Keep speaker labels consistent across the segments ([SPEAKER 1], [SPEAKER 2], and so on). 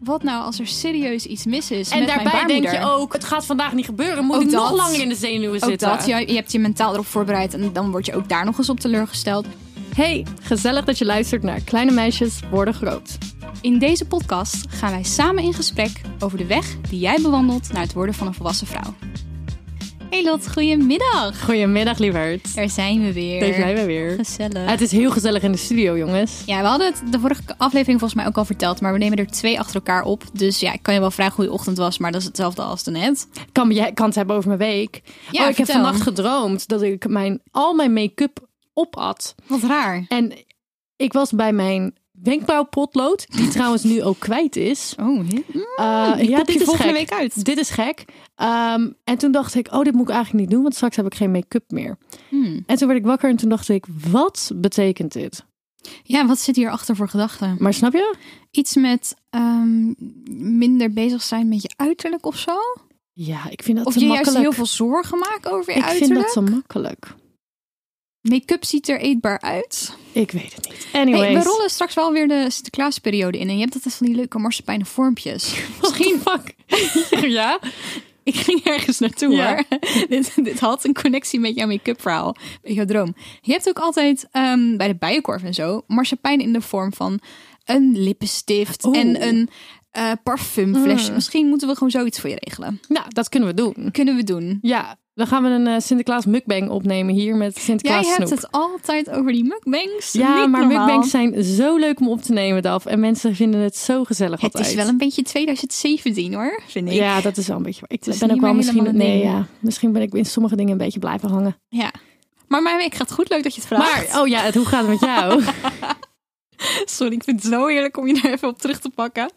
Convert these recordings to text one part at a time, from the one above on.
[SPEAKER 1] Wat nou als er serieus iets mis is
[SPEAKER 2] En
[SPEAKER 1] met mijn
[SPEAKER 2] daarbij denk
[SPEAKER 1] baarmoeder?
[SPEAKER 2] je ook, het gaat vandaag niet gebeuren. Moet
[SPEAKER 1] Ook
[SPEAKER 2] ik nog
[SPEAKER 1] dat.
[SPEAKER 2] langer in de zenuwen
[SPEAKER 1] Ook
[SPEAKER 2] zitten?
[SPEAKER 1] dat, ja, je hebt je mentaal erop voorbereid en dan word je ook daar nog eens op teleurgesteld. Hey, gezellig dat je luistert naar Kleine Meisjes Worden Groot. In deze podcast gaan wij samen in gesprek over de weg die jij bewandelt naar het worden van een volwassen vrouw. Hey Lot, goedemiddag!
[SPEAKER 2] Goedemiddag, lieverd.
[SPEAKER 1] Daar zijn we weer.
[SPEAKER 2] Daar zijn we weer.
[SPEAKER 1] Gezellig.
[SPEAKER 2] Het is heel gezellig in de studio, jongens.
[SPEAKER 1] Ja, we hadden het de vorige aflevering volgens mij ook al verteld, maar we nemen er twee achter elkaar op. Dus ja, ik kan je wel vragen hoe je ochtend was, maar dat is hetzelfde als daarnet.
[SPEAKER 2] Kan, jij kan het hebben over mijn week?
[SPEAKER 1] Ja,
[SPEAKER 2] oh, ik heb
[SPEAKER 1] vertel.
[SPEAKER 2] vannacht gedroomd dat ik mijn, al mijn make-up opat.
[SPEAKER 1] Wat raar.
[SPEAKER 2] En ik was bij mijn wenkbrauwpotlood, die trouwens nu ook kwijt is.
[SPEAKER 1] Oh, hè?
[SPEAKER 2] Eh,
[SPEAKER 1] die
[SPEAKER 2] ja,
[SPEAKER 1] pop je
[SPEAKER 2] dit is
[SPEAKER 1] volgende
[SPEAKER 2] gek.
[SPEAKER 1] week uit.
[SPEAKER 2] Dit is gek. Ehm, en toen dacht ik, oh, dit moet ik eigenlijk niet doen, want straks heb ik geen make-up meer.
[SPEAKER 1] Hmm.
[SPEAKER 2] En toen werd ik wakker en toen dacht ik, wat betekent dit?
[SPEAKER 1] Ja, wat zit hier achter voor gedachten?
[SPEAKER 2] Maar snap je?
[SPEAKER 1] Iets met ehm, minder bezig zijn met je uiterlijk of zo?
[SPEAKER 2] Ja, ik vind dat
[SPEAKER 1] Of
[SPEAKER 2] te
[SPEAKER 1] je juist
[SPEAKER 2] makkelijk.
[SPEAKER 1] heel veel zorgen maken over je
[SPEAKER 2] ik vind
[SPEAKER 1] uiterlijk?
[SPEAKER 2] dat te makkelijk.
[SPEAKER 1] Make-up ziet er eetbaar uit.
[SPEAKER 2] Ik weet het niet.
[SPEAKER 1] Hey,
[SPEAKER 2] Anyways.
[SPEAKER 1] we rollen straks wel weer de Sinterklaasperiode in. En je hebt altijd van die leuke marsepijnen vormpjes.
[SPEAKER 2] Misschien fuck. ja?
[SPEAKER 1] Ik ging ergens naartoe
[SPEAKER 2] Ja.
[SPEAKER 1] hoor. dit, dit had een connectie met jouw make-up verhaal. Met jouw droom. Je hebt ook altijd ehm, bij de bijenkorf en zo. Marsepein in de vorm van een lippenstift
[SPEAKER 2] Oeh. Mm.
[SPEAKER 1] en een eh, parfumflesje. Misschien moeten we gewoon zoiets voor je regelen.
[SPEAKER 2] Nou, dat kunnen we doen.
[SPEAKER 1] Kunnen we doen.
[SPEAKER 2] Ja, dan gaan we een eh, Sinterklaas mukbang opnemen hier met
[SPEAKER 1] Jij
[SPEAKER 2] Sinterklaas
[SPEAKER 1] hebt
[SPEAKER 2] snoep.
[SPEAKER 1] het altijd over die mukbangs.
[SPEAKER 2] ja,
[SPEAKER 1] Niet
[SPEAKER 2] maar
[SPEAKER 1] normaal.
[SPEAKER 2] mukbangs zijn zo leuk om op te nemen, Daf. En mensen vinden het zo gezellig
[SPEAKER 1] Het
[SPEAKER 2] altijd.
[SPEAKER 1] is wel een beetje 2017 hoor, vind ik.
[SPEAKER 2] Ja, dat is wel een beetje waar. Ik
[SPEAKER 1] is
[SPEAKER 2] ben
[SPEAKER 1] niet
[SPEAKER 2] ook wel
[SPEAKER 1] meer
[SPEAKER 2] misschien...
[SPEAKER 1] helemaal een
[SPEAKER 2] Nee,
[SPEAKER 1] ding.
[SPEAKER 2] ja. Misschien ben ik in sommige dingen een beetje blijven hangen.
[SPEAKER 1] Ja. Maar mijn week gaat goed, leuk dat je het vraagt.
[SPEAKER 2] Maar, oh ja, het, hoe gaat het met jou?
[SPEAKER 1] sorry, ik vind het zo heerlijk om je daar even op terug te pakken.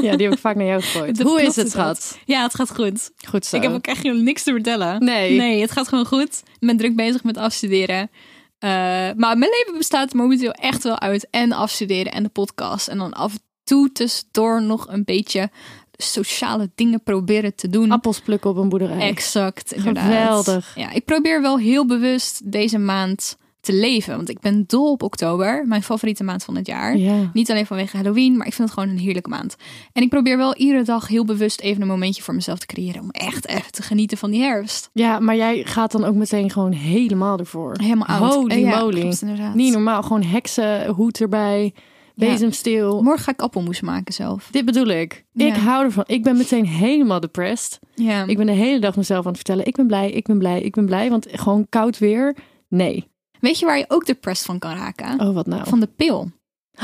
[SPEAKER 2] ja, die heb ik vaak naar jou gegooid.
[SPEAKER 1] Dat
[SPEAKER 2] hoe is
[SPEAKER 1] klopt
[SPEAKER 2] het,
[SPEAKER 1] inderdaad.
[SPEAKER 2] schat?
[SPEAKER 1] Ja, het gaat goed.
[SPEAKER 2] Goed zo.
[SPEAKER 1] Ik heb ook echt helemaal niks te vertellen.
[SPEAKER 2] Nee.
[SPEAKER 1] Nee, het gaat gewoon goed. Ik ben druk bezig met afstuderen. Eh, maar mijn leven bestaat momenteel echt wel uit en afstuderen en de podcast. En dan af en toe tussendoor nog een beetje sociale dingen proberen te doen.
[SPEAKER 2] Appels plukken op een boerderij.
[SPEAKER 1] Exact, inderdaad.
[SPEAKER 2] Geweldig.
[SPEAKER 1] Ja, ik probeer wel heel bewust deze maand te leven. Want ik ben dol op oktober. Mijn favoriete maand van het jaar.
[SPEAKER 2] Ja.
[SPEAKER 1] Niet alleen vanwege Halloween, maar ik vind het gewoon een heerlijke maand. En ik probeer wel iedere dag heel bewust even een momentje voor mezelf te creëren. Om echt even te genieten van die herfst.
[SPEAKER 2] Ja, maar jij gaat dan ook meteen gewoon helemaal ervoor.
[SPEAKER 1] Helemaal oud.
[SPEAKER 2] Holy
[SPEAKER 1] Eh, ja,
[SPEAKER 2] moly.
[SPEAKER 1] klopt, inderdaad.
[SPEAKER 2] Niet normaal. Gewoon heksenhoed erbij. Bezemsteel.
[SPEAKER 1] Morgen ga ik appelmoes maken zelf.
[SPEAKER 2] Dit bedoel ik. Ik
[SPEAKER 1] Ja. Um.
[SPEAKER 2] hou ervan. Ik ben meteen helemaal depressed.
[SPEAKER 1] Ja.
[SPEAKER 2] Ik ben de hele dag mezelf aan het vertellen. Ik ben blij, ik ben blij, ik ben blij. Want gewoon koud weer. Nee.
[SPEAKER 1] Weet je waar je ook depressed van kan raken?
[SPEAKER 2] Oh, wat nou?
[SPEAKER 1] Van de pil.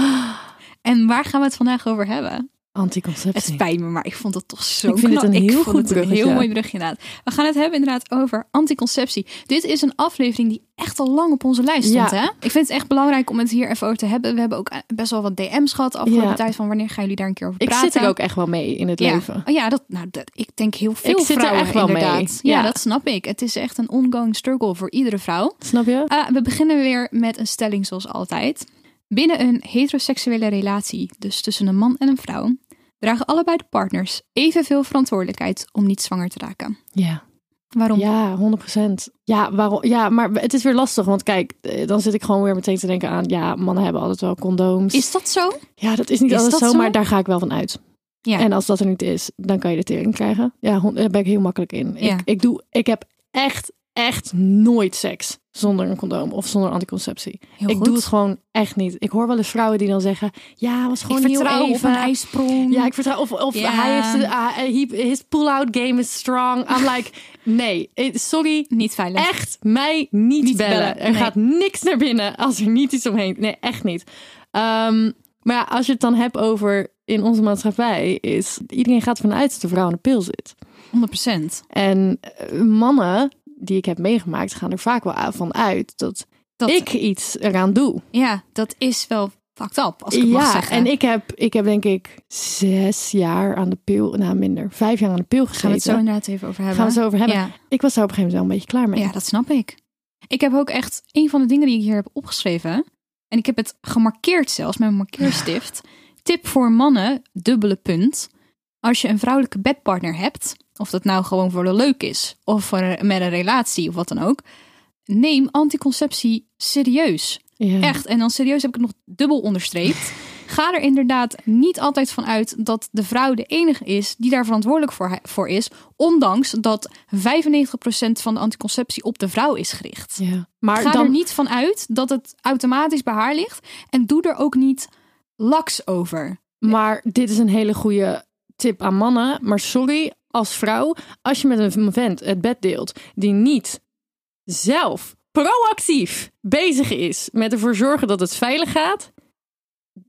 [SPEAKER 1] En waar gaan we het vandaag over hebben? Het
[SPEAKER 2] Anticonceptie.
[SPEAKER 1] spijt me, maar ik vond het toch zo
[SPEAKER 2] Ik vind het
[SPEAKER 1] knap.
[SPEAKER 2] een
[SPEAKER 1] ik
[SPEAKER 2] heel
[SPEAKER 1] vond het
[SPEAKER 2] goed
[SPEAKER 1] een
[SPEAKER 2] bruggetje.
[SPEAKER 1] heel mooi brugje inderdaad. We gaan het hebben inderdaad over anticonceptie. Dit is een aflevering die echt al lang op onze lijst stond.
[SPEAKER 2] Ja.
[SPEAKER 1] Hè? Ik vind het echt belangrijk om het hier even over te hebben. We hebben ook eh, best wel wat DM's gehad de afgelopen
[SPEAKER 2] Ja.
[SPEAKER 1] tijd. Van wanneer gaan jullie daar een keer over
[SPEAKER 2] Ik
[SPEAKER 1] praten?
[SPEAKER 2] zit er ook echt wel mee in het
[SPEAKER 1] ja.
[SPEAKER 2] leven.
[SPEAKER 1] Oh ja, dat, nou, dat, ik denk heel veel
[SPEAKER 2] Ik zit er
[SPEAKER 1] vrouwen
[SPEAKER 2] echt wel mee.
[SPEAKER 1] inderdaad. Ja.
[SPEAKER 2] Ja.
[SPEAKER 1] dat snap ik. Het is echt een ongoing struggle voor iedere vrouw.
[SPEAKER 2] Snap je?
[SPEAKER 1] Ah, we beginnen weer met een stelling zoals altijd. Binnen een heteroseksuele relatie, dus tussen een man en een vrouw, dragen allebei de partners evenveel verantwoordelijkheid om niet zwanger te raken.
[SPEAKER 2] Ja.
[SPEAKER 1] Waarom?
[SPEAKER 2] Ja, 100%. Ja, waarom? ja, maar het is weer lastig. Want kijk, eh, dan zit ik gewoon weer meteen te denken aan... Ja, mannen hebben altijd wel condooms.
[SPEAKER 1] Is dat zo?
[SPEAKER 2] Ja, dat is niet
[SPEAKER 1] Is
[SPEAKER 2] alles
[SPEAKER 1] dat
[SPEAKER 2] zo,
[SPEAKER 1] zo?
[SPEAKER 2] maar daar ga ik wel van uit.
[SPEAKER 1] Ja.
[SPEAKER 2] En als dat er niet is, dan kan je de tering krijgen. Ja, hon- daar ben ik heel makkelijk in.
[SPEAKER 1] Ja.
[SPEAKER 2] Ik, ik, doe, ik heb echt, echt nooit seks zonder een condoom of zonder anticonceptie.
[SPEAKER 1] Heel
[SPEAKER 2] ik
[SPEAKER 1] goed.
[SPEAKER 2] doe het gewoon echt niet. Ik hoor wel eens vrouwen die dan zeggen... Ja, was gewoon
[SPEAKER 1] ik vertrouw
[SPEAKER 2] heel
[SPEAKER 1] op
[SPEAKER 2] even.
[SPEAKER 1] een ijsprong.
[SPEAKER 2] Ja, ik vertrouw. Of, of
[SPEAKER 1] Ja.
[SPEAKER 2] hij heeft. ah, he- his pull-out game is strong. I'm like, nee, eh, sorry.
[SPEAKER 1] Niet veilig.
[SPEAKER 2] Echt mij niet,
[SPEAKER 1] Niet
[SPEAKER 2] bellen.
[SPEAKER 1] bellen,
[SPEAKER 2] Er
[SPEAKER 1] nee.
[SPEAKER 2] gaat niks naar binnen als er niet iets omheen. Nee, echt niet. Ehm, maar ja, als je het dan hebt over in onze maatschappij, is iedereen gaat ervan uit dat de vrouw aan de pil zit.
[SPEAKER 1] 100%.
[SPEAKER 2] En eh, mannen die ik heb meegemaakt, gaan er vaak wel van uit dat,
[SPEAKER 1] Dat,
[SPEAKER 2] ik iets eraan doe.
[SPEAKER 1] Ja, dat is wel fucked up, als ik het mag zeggen.
[SPEAKER 2] en ik heb, ik heb denk ik zes jaar aan de pil, nou minder, vijf jaar aan de pil gegeten.
[SPEAKER 1] gaan we het zo inderdaad even over hebben.
[SPEAKER 2] Gaan we het zo over hebben.
[SPEAKER 1] Ja.
[SPEAKER 2] Ik was daar op een gegeven moment wel een beetje klaar mee.
[SPEAKER 1] Ja, dat snap ik. Ik heb ook echt een van de dingen die ik hier heb opgeschreven. En ik heb het gemarkeerd zelfs met een markeerstift. Tip voor mannen, dubbele punt. Als je een vrouwelijke bedpartner hebt, of dat nou gewoon voor de leuk is, of voor een- met een relatie of wat dan ook, neem anticonceptie serieus.
[SPEAKER 2] Ja.
[SPEAKER 1] Echt. En dan serieus heb ik het nog dubbel onderstreept. Ga er inderdaad niet altijd van uit dat de vrouw de enige is die daar verantwoordelijk voor, voor is. Ondanks dat 95% van de anticonceptie op de vrouw is gericht.
[SPEAKER 2] Ja. Maar
[SPEAKER 1] Ga
[SPEAKER 2] dan
[SPEAKER 1] er niet van uit dat het automatisch bij haar ligt. En doe er ook niet laks over.
[SPEAKER 2] Maar dit is een hele goede tip aan mannen. Maar sorry, als vrouw, als je met een vent het bed deelt die niet zelf proactief bezig is met ervoor zorgen dat het veilig gaat,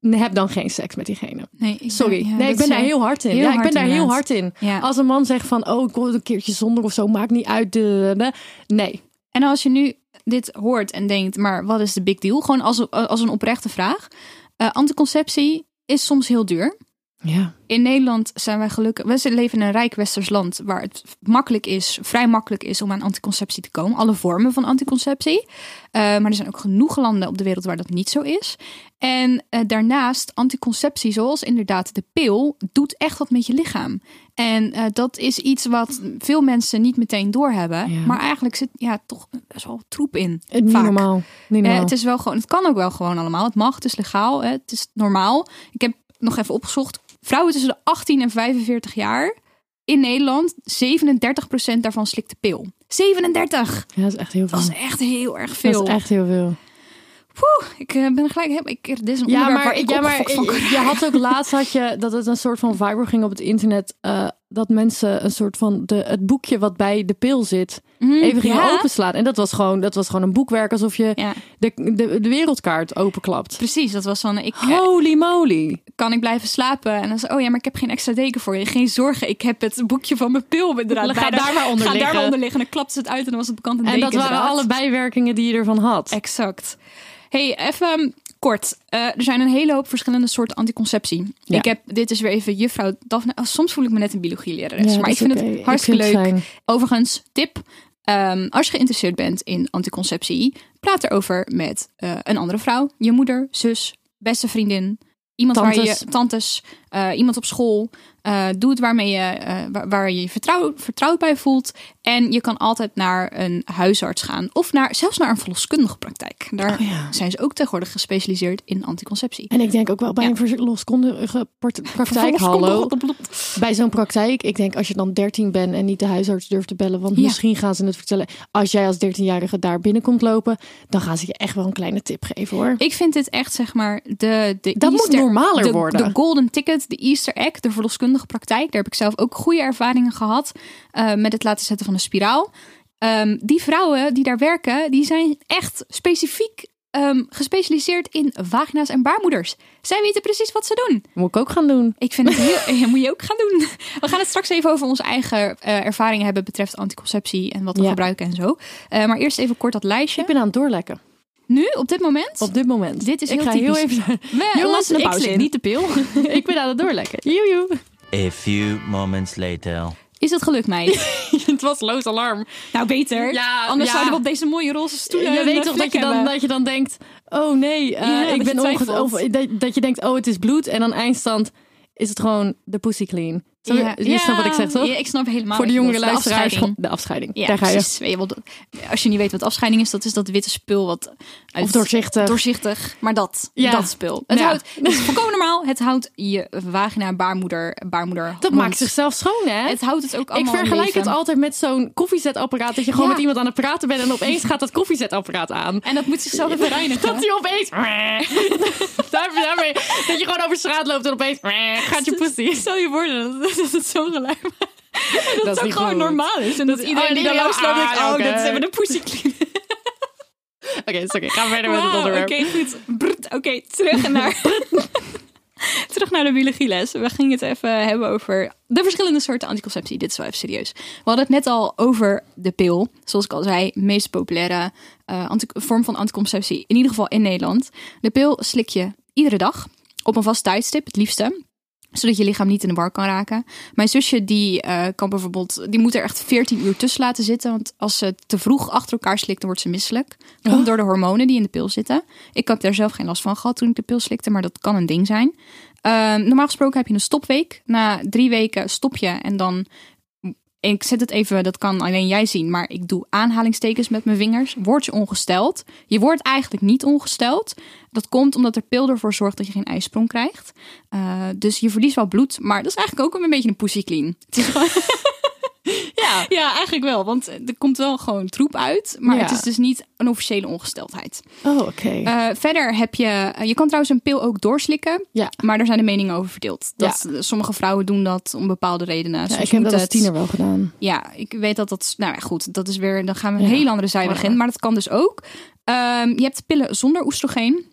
[SPEAKER 2] heb dan geen seks met diegene.
[SPEAKER 1] Nee, ik
[SPEAKER 2] Sorry, nee, ik ben daar heel hard in.
[SPEAKER 1] heel
[SPEAKER 2] ja, ik
[SPEAKER 1] hard
[SPEAKER 2] ben daar heel
[SPEAKER 1] inderdaad.
[SPEAKER 2] hard in.
[SPEAKER 1] Ja.
[SPEAKER 2] Als een man zegt van, oh, ik wil het een keertje zonder of zo, maakt niet uit. de- de- de- Nee,
[SPEAKER 1] En als je nu dit hoort en denkt, maar wat is de big deal? Gewoon als, als een oprechte vraag. Eh, anticonceptie is soms heel duur.
[SPEAKER 2] ja,
[SPEAKER 1] In Nederland zijn wij gelukkig. We leven in een rijk westers land waar het makkelijk is, vrij makkelijk is om aan anticonceptie te komen. Alle vormen van anticonceptie. Eh, maar er zijn ook genoeg landen op de wereld waar dat niet zo is. En eh, daarnaast, anticonceptie, zoals inderdaad de pil, doet echt wat met je lichaam. En eh, dat is iets wat veel mensen niet meteen doorhebben.
[SPEAKER 2] Ja.
[SPEAKER 1] Maar eigenlijk zit ja, toch best wel troep in.
[SPEAKER 2] niet
[SPEAKER 1] vaak.
[SPEAKER 2] normaal. Niet
[SPEAKER 1] Eh,
[SPEAKER 2] normaal.
[SPEAKER 1] het is wel gewoon, het kan ook wel gewoon allemaal. Het mag, het is legaal, hè, het is normaal. Ik heb nog even opgezocht. Vrouwen tussen de 18 en 45 jaar in Nederland, 37% daarvan slikt de pil. 37!
[SPEAKER 2] ja, dat is echt heel veel.
[SPEAKER 1] Dat is echt heel erg
[SPEAKER 2] Oh. Dat
[SPEAKER 1] veel.
[SPEAKER 2] is echt heel veel.
[SPEAKER 1] Poeh, ik eh, ben gelijk, heb ik, dit is een
[SPEAKER 2] Ja,
[SPEAKER 1] onderwerp
[SPEAKER 2] maar,
[SPEAKER 1] waar ik
[SPEAKER 2] ja, maar
[SPEAKER 1] opgefokt van kan
[SPEAKER 2] je had ook laatst had je dat het een soort van viral ging op het internet. eh, dat mensen een soort van de, het boekje wat bij de pil zit,
[SPEAKER 1] Mm,
[SPEAKER 2] even gingen
[SPEAKER 1] ja.
[SPEAKER 2] openslaan. En dat was, gewoon, dat was gewoon een boekwerk alsof je
[SPEAKER 1] Ja.
[SPEAKER 2] de, de, de wereldkaart openklapt.
[SPEAKER 1] Precies, dat was dan, ik, eh,
[SPEAKER 2] Holy moly.
[SPEAKER 1] kan ik blijven slapen? En dan zei oh ja, maar ik heb geen extra deken voor je. Geen zorgen, ik heb het boekje van mijn pil inderdaad.
[SPEAKER 2] Ga daar maar onder
[SPEAKER 1] ga daar maar
[SPEAKER 2] liggen.
[SPEAKER 1] onder liggen. En dan klapte ze het uit en dan was het bekant een
[SPEAKER 2] En
[SPEAKER 1] deken.
[SPEAKER 2] dat waren
[SPEAKER 1] inderdaad.
[SPEAKER 2] alle bijwerkingen die je ervan had.
[SPEAKER 1] Exact. Hey, even um, kort. Eh, er zijn een hele hoop verschillende soorten anticonceptie.
[SPEAKER 2] Ja.
[SPEAKER 1] Ik heb, dit is weer even juffrouw Daphne. oh, soms voel ik me net een biologielerares,
[SPEAKER 2] Ja,
[SPEAKER 1] maar
[SPEAKER 2] dat
[SPEAKER 1] ik
[SPEAKER 2] is
[SPEAKER 1] vind
[SPEAKER 2] oké.
[SPEAKER 1] het hartstikke
[SPEAKER 2] Ik vind
[SPEAKER 1] leuk.
[SPEAKER 2] het
[SPEAKER 1] Overigens, tip. ehm, als je geïnteresseerd bent in anticonceptie, praat erover met eh, een andere vrouw. Je moeder, zus, beste vriendin. Iemand waar
[SPEAKER 2] Tantes.
[SPEAKER 1] je tantes, eh, iemand op school. Eh, doe het waarmee je, eh, waar, waar je je vertrouw, vertrouwd bij voelt. En je kan altijd naar een huisarts gaan. Of naar, zelfs naar een verloskundige praktijk. Daar
[SPEAKER 2] Oh ja.
[SPEAKER 1] zijn ze ook tegenwoordig gespecialiseerd in anticonceptie.
[SPEAKER 2] En ik denk ook wel bij
[SPEAKER 1] Ja.
[SPEAKER 2] een verloskundige part- praktijk. Hallo. Bij zo'n praktijk, ik denk als je dan 13 bent en niet de huisarts durft te bellen, want
[SPEAKER 1] Ja.
[SPEAKER 2] misschien gaan ze het vertellen. Als jij als 13-jarige daar binnenkomt lopen, dan gaan ze je echt wel een kleine tip geven hoor.
[SPEAKER 1] Ik vind dit echt, zeg maar, de, de
[SPEAKER 2] Dat moet
[SPEAKER 1] Easter-
[SPEAKER 2] normaler
[SPEAKER 1] de,
[SPEAKER 2] worden.
[SPEAKER 1] De golden ticket, de Easter egg, de verloskundige praktijk. Daar heb ik zelf ook goede ervaringen gehad eh, met het laten zetten van een spiraal. Ehm, die vrouwen die daar werken, die zijn echt specifiek ehm, gespecialiseerd in vagina's en baarmoeders. Zij weten precies wat ze doen.
[SPEAKER 2] Moet ik ook gaan doen.
[SPEAKER 1] Ik vind het heel... ja, moet je ook gaan doen. We gaan het straks even over onze eigen eh, ervaringen hebben betreft anticonceptie en wat we
[SPEAKER 2] Ja.
[SPEAKER 1] gebruiken en zo. Eh, maar eerst even kort dat lijstje.
[SPEAKER 2] Ik ben aan het doorlekken.
[SPEAKER 1] Nu, op dit moment...
[SPEAKER 2] Op dit moment.
[SPEAKER 1] Dit is
[SPEAKER 2] ik
[SPEAKER 1] heel
[SPEAKER 2] ga heel
[SPEAKER 1] typisch.
[SPEAKER 2] even.
[SPEAKER 1] we
[SPEAKER 2] Jongens,
[SPEAKER 1] laten een
[SPEAKER 2] ik
[SPEAKER 1] pauze
[SPEAKER 2] slik
[SPEAKER 1] in.
[SPEAKER 2] niet de pil. ik ben aan het doorlekken. Joejoe.
[SPEAKER 3] A few moments later.
[SPEAKER 1] Is het gelukt, meid?
[SPEAKER 2] het was loos alarm.
[SPEAKER 1] nou, beter.
[SPEAKER 2] Ja,
[SPEAKER 1] Anders
[SPEAKER 2] ja.
[SPEAKER 1] zouden we op deze mooie roze stoelen
[SPEAKER 2] je
[SPEAKER 1] een
[SPEAKER 2] weet toch
[SPEAKER 1] vlek
[SPEAKER 2] dat je, dan,
[SPEAKER 1] hebben.
[SPEAKER 2] dat je dan denkt: oh nee, eh,
[SPEAKER 1] Ja,
[SPEAKER 2] ik
[SPEAKER 1] dat je
[SPEAKER 2] ben onge-
[SPEAKER 1] twijfelt.
[SPEAKER 2] of dat, dat je denkt: oh, het is bloed. En dan eindstand is het gewoon de pussy clean. Zo,
[SPEAKER 1] Ja.
[SPEAKER 2] Je snapt wat ik zeg, toch?
[SPEAKER 1] Ja, ik snap helemaal
[SPEAKER 2] Voor de
[SPEAKER 1] wat je
[SPEAKER 2] jongere
[SPEAKER 1] bedoelt.
[SPEAKER 2] luisteraars,
[SPEAKER 1] afscheiding.
[SPEAKER 2] gewoon de afscheiding.
[SPEAKER 1] Ja,
[SPEAKER 2] Daar ga je.
[SPEAKER 1] precies. Weet je wel, Als je niet weet wat afscheiding is, dat is dat witte spul wat uit...
[SPEAKER 2] Of doorzichtig.
[SPEAKER 1] Doorzichtig, maar dat,
[SPEAKER 2] Ja.
[SPEAKER 1] dat spul. Het
[SPEAKER 2] Ja.
[SPEAKER 1] houdt, het is volkomen normaal, het houdt je vagina, baarmoeder, baarmoeder.
[SPEAKER 2] dat
[SPEAKER 1] mond.
[SPEAKER 2] maakt zichzelf schoon, hè?
[SPEAKER 1] Het houdt het ook
[SPEAKER 2] ik
[SPEAKER 1] allemaal
[SPEAKER 2] vergelijk
[SPEAKER 1] in
[SPEAKER 2] het
[SPEAKER 1] leven.
[SPEAKER 2] altijd met zo'n koffiezetapparaat. Dat je gewoon
[SPEAKER 1] Ja.
[SPEAKER 2] met iemand aan het praten bent en opeens gaat dat koffiezetapparaat aan.
[SPEAKER 1] En dat moet zichzelf even reinigen.
[SPEAKER 2] Dat hij opeens... Daar- daarmee, dat je gewoon over straat loopt en opeens... Gaat je pussy.
[SPEAKER 1] Stel je voor dat dat het zo'n geluid maakt. Dat,
[SPEAKER 2] is
[SPEAKER 1] dat ook
[SPEAKER 2] niet
[SPEAKER 1] gewoon
[SPEAKER 2] goed.
[SPEAKER 1] normaal is. En dat, iedereen
[SPEAKER 2] oh,
[SPEAKER 1] die daar
[SPEAKER 2] iedereen-
[SPEAKER 1] langs loopt, denkt,
[SPEAKER 2] ah,
[SPEAKER 1] oh,
[SPEAKER 2] oké.
[SPEAKER 1] dat is even de pussy clean.
[SPEAKER 2] Oké, is oké. Ga verder met het
[SPEAKER 1] Wauw, Oké,
[SPEAKER 2] onderwerp.
[SPEAKER 1] goed. Brrt, Oké, terug naar... terug naar de biologieles. We gingen het even hebben over de verschillende soorten anticonceptie. Dit is wel even serieus. We hadden het net al over de pil. Zoals ik al zei, meest populaire eh, anti- vorm van anticonceptie. In ieder geval in Nederland. De pil slik je Iedere dag. Op een vast tijdstip, het liefste. Zodat je lichaam niet in de war kan raken. Mijn zusje die eh, kan bijvoorbeeld... Die moet er echt 14 uur tussen laten zitten. Want als ze te vroeg achter elkaar slikt, dan wordt ze misselijk. Komt door de hormonen die in de pil zitten. Ik heb daar zelf geen last van gehad toen ik de pil slikte. Maar dat kan een ding zijn. Eh, normaal gesproken heb je een stopweek. Na drie weken stop je en dan ik zet het even, dat kan alleen jij zien, maar ik doe aanhalingstekens met mijn vingers. Word je ongesteld? Je wordt eigenlijk niet ongesteld. Dat komt omdat er pil ervoor zorgt dat je geen ijsprong krijgt. Eh, dus je verliest wel bloed, maar dat is eigenlijk ook een beetje een pussyclean. Het is gewoon... ja. ja, eigenlijk wel, want er komt wel gewoon troep uit, maar
[SPEAKER 2] Ja.
[SPEAKER 1] het is dus niet een officiële ongesteldheid.
[SPEAKER 2] Oh, oké.
[SPEAKER 1] Eh, verder heb je, eh, je kan trouwens een pil ook doorslikken,
[SPEAKER 2] Ja.
[SPEAKER 1] maar daar zijn de meningen over verdeeld. Dat, eh, Sommige vrouwen doen dat om bepaalde redenen.
[SPEAKER 2] ja,
[SPEAKER 1] Soms
[SPEAKER 2] ik heb
[SPEAKER 1] moet
[SPEAKER 2] dat als
[SPEAKER 1] het-
[SPEAKER 2] tiener wel gedaan.
[SPEAKER 1] ja, ik weet dat dat. Nou ja, goed, dat is weer. Dan gaan we een
[SPEAKER 2] Ja.
[SPEAKER 1] hele andere zijweg in. Maar dat kan dus ook. Ehm, je hebt pillen zonder oestrogeen.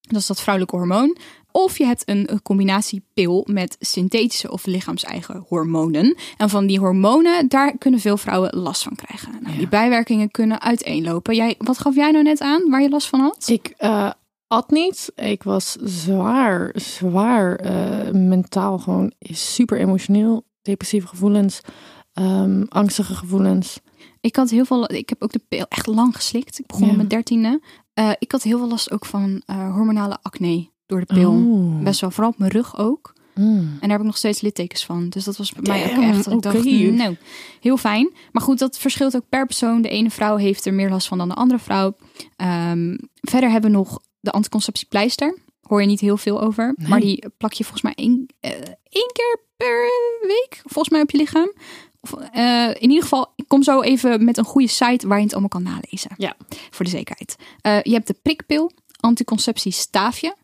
[SPEAKER 1] Dat is dat vrouwelijke hormoon. Of je hebt een eh, combinatiepil met synthetische of lichaams-eigen hormonen. En van die hormonen, daar kunnen veel vrouwen last van krijgen. Nou, Die bijwerkingen kunnen uiteenlopen. Jij, wat gaf jij nou net aan waar je last van had?
[SPEAKER 2] Ik eh, at niet. Ik was zwaar, zwaar eh, mentaal gewoon super emotioneel. Depressieve gevoelens, ehm, angstige gevoelens.
[SPEAKER 1] Ik had heel veel. Ik heb ook de pil echt lang geslikt. Ik begon
[SPEAKER 2] Ja.
[SPEAKER 1] met mijn dertiende. Eh, ik had heel veel last ook van eh, hormonale acne door de pil.
[SPEAKER 2] Oh.
[SPEAKER 1] Best wel, vooral op mijn rug ook.
[SPEAKER 2] Mm.
[SPEAKER 1] En daar heb ik nog steeds littekens van. Dus dat was bij mij ook
[SPEAKER 2] Damn,
[SPEAKER 1] echt. Dat ik dacht,
[SPEAKER 2] oké.
[SPEAKER 1] mm, nou, heel fijn. Maar goed, dat verschilt ook per persoon. De ene vrouw heeft er meer last van dan de andere vrouw. Ehm, verder hebben we nog de anticonceptiepleister. Hoor je niet heel veel over. Maar die plak je volgens mij één, eh, één keer per week. Volgens mij op je lichaam. Of, eh, in ieder geval, ik kom zo even met een goede site waar je het allemaal kan nalezen.
[SPEAKER 2] Ja.
[SPEAKER 1] Voor de zekerheid. Eh, je hebt de prikpil, anticonceptiestaafje.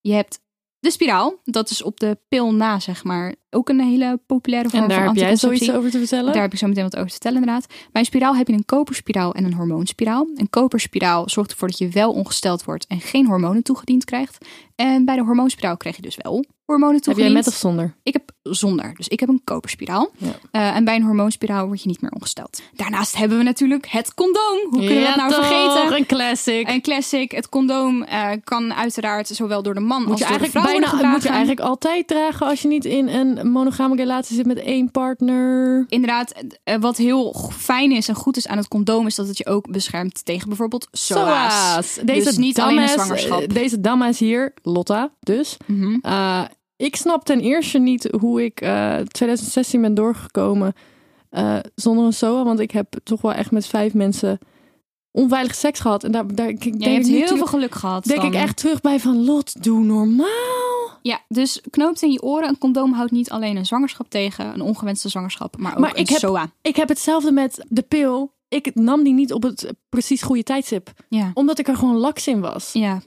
[SPEAKER 1] Je hebt de spiraal. Dat is op de pil na, zeg maar. Ook een hele populaire vorm
[SPEAKER 2] En daar
[SPEAKER 1] van
[SPEAKER 2] heb jij
[SPEAKER 1] anticonceptie.
[SPEAKER 2] zoiets over te vertellen?
[SPEAKER 1] Daar heb ik zo meteen wat over te vertellen, inderdaad. Bij een spiraal heb je een koperspiraal en een hormoonspiraal. Een koperspiraal zorgt ervoor dat je wel ongesteld wordt en geen hormonen toegediend krijgt. En bij de hormoonspiraal krijg je dus wel hormonen
[SPEAKER 2] heb jij
[SPEAKER 1] toegediend.
[SPEAKER 2] met of zonder?
[SPEAKER 1] Ik heb zonder, dus ik heb een koperspiraal.
[SPEAKER 2] Ja.
[SPEAKER 1] Eh, en bij een hormoonspiraal word je niet meer ongesteld. Daarnaast hebben we natuurlijk het condoom. Hoe kunnen we dat nou vergeten?
[SPEAKER 2] Een classic.
[SPEAKER 1] Een classic. Het condoom eh, kan uiteraard zowel door de man
[SPEAKER 2] moet
[SPEAKER 1] als
[SPEAKER 2] je,
[SPEAKER 1] door de
[SPEAKER 2] eigenlijk
[SPEAKER 1] vrouw worden
[SPEAKER 2] bijna,
[SPEAKER 1] gedragen.
[SPEAKER 2] moet je eigenlijk altijd dragen als je niet in een monogame relatie zit met één partner.
[SPEAKER 1] Inderdaad, eh, wat heel g- fijn is en goed is aan het condoom... is dat het je ook beschermt tegen bijvoorbeeld SOA's.
[SPEAKER 2] Deze
[SPEAKER 1] dus niet alleen een
[SPEAKER 2] dames-
[SPEAKER 1] zwangerschap. Mhm.
[SPEAKER 2] eh, Deze dames hier, Lotta dus. Eh, ik snap ten eerste niet hoe ik eh, 2016 ben doorgekomen eh, zonder een SOA. Want ik heb toch wel echt met vijf mensen onveilig seks gehad. En daar, daar ik denk
[SPEAKER 1] Ja, je hebt
[SPEAKER 2] ik nu
[SPEAKER 1] heel
[SPEAKER 2] terug-
[SPEAKER 1] veel geluk gehad.
[SPEAKER 2] denk ik
[SPEAKER 1] dan.
[SPEAKER 2] echt terug bij van Lot, doe normaal.
[SPEAKER 1] Ja, dus knoopt in je oren. Een condoom houdt niet alleen een zwangerschap tegen, een ongewenste zwangerschap, maar ook
[SPEAKER 2] Maar
[SPEAKER 1] een
[SPEAKER 2] ik heb-
[SPEAKER 1] SOA.
[SPEAKER 2] Ik heb hetzelfde met de pil. Ik nam die niet op het eh, precies goede tijdstip.
[SPEAKER 1] Ja.
[SPEAKER 2] Omdat ik er gewoon laks in was.
[SPEAKER 1] ja,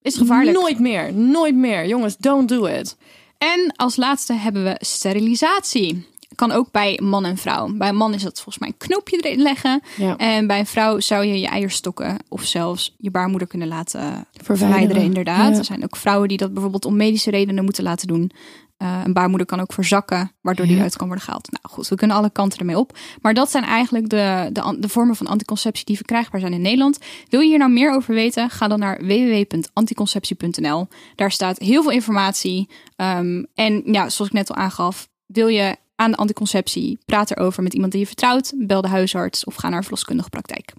[SPEAKER 1] is gevaarlijk.
[SPEAKER 2] Nooit meer. Nooit meer. Jongens, don't do it.
[SPEAKER 1] En als laatste hebben we sterilisatie. Kan ook bij man en vrouw. Bij een man is dat volgens mij een knoopje erin leggen.
[SPEAKER 2] Ja.
[SPEAKER 1] En bij een vrouw zou je je eierstokken of zelfs je baarmoeder kunnen laten
[SPEAKER 2] Verwijderen.
[SPEAKER 1] verwijderen. Inderdaad.
[SPEAKER 2] Ja.
[SPEAKER 1] Er zijn ook vrouwen die dat bijvoorbeeld om medische redenen moeten laten doen. Eh, een baarmoeder kan ook verzakken, waardoor die
[SPEAKER 2] Ja.
[SPEAKER 1] uit kan worden gehaald. Nou goed, we kunnen alle kanten ermee op. Maar dat zijn eigenlijk de, de, an- de vormen van anticonceptie die verkrijgbaar zijn in Nederland. Wil je hier nou meer over weten? Ga dan naar www.anticonceptie.nl. Daar staat heel veel informatie. Ehm, en ja, zoals ik net al aangaf, wil je aan de anticonceptie, praat erover met iemand die je vertrouwt. Bel de huisarts of ga naar een verloskundige praktijk.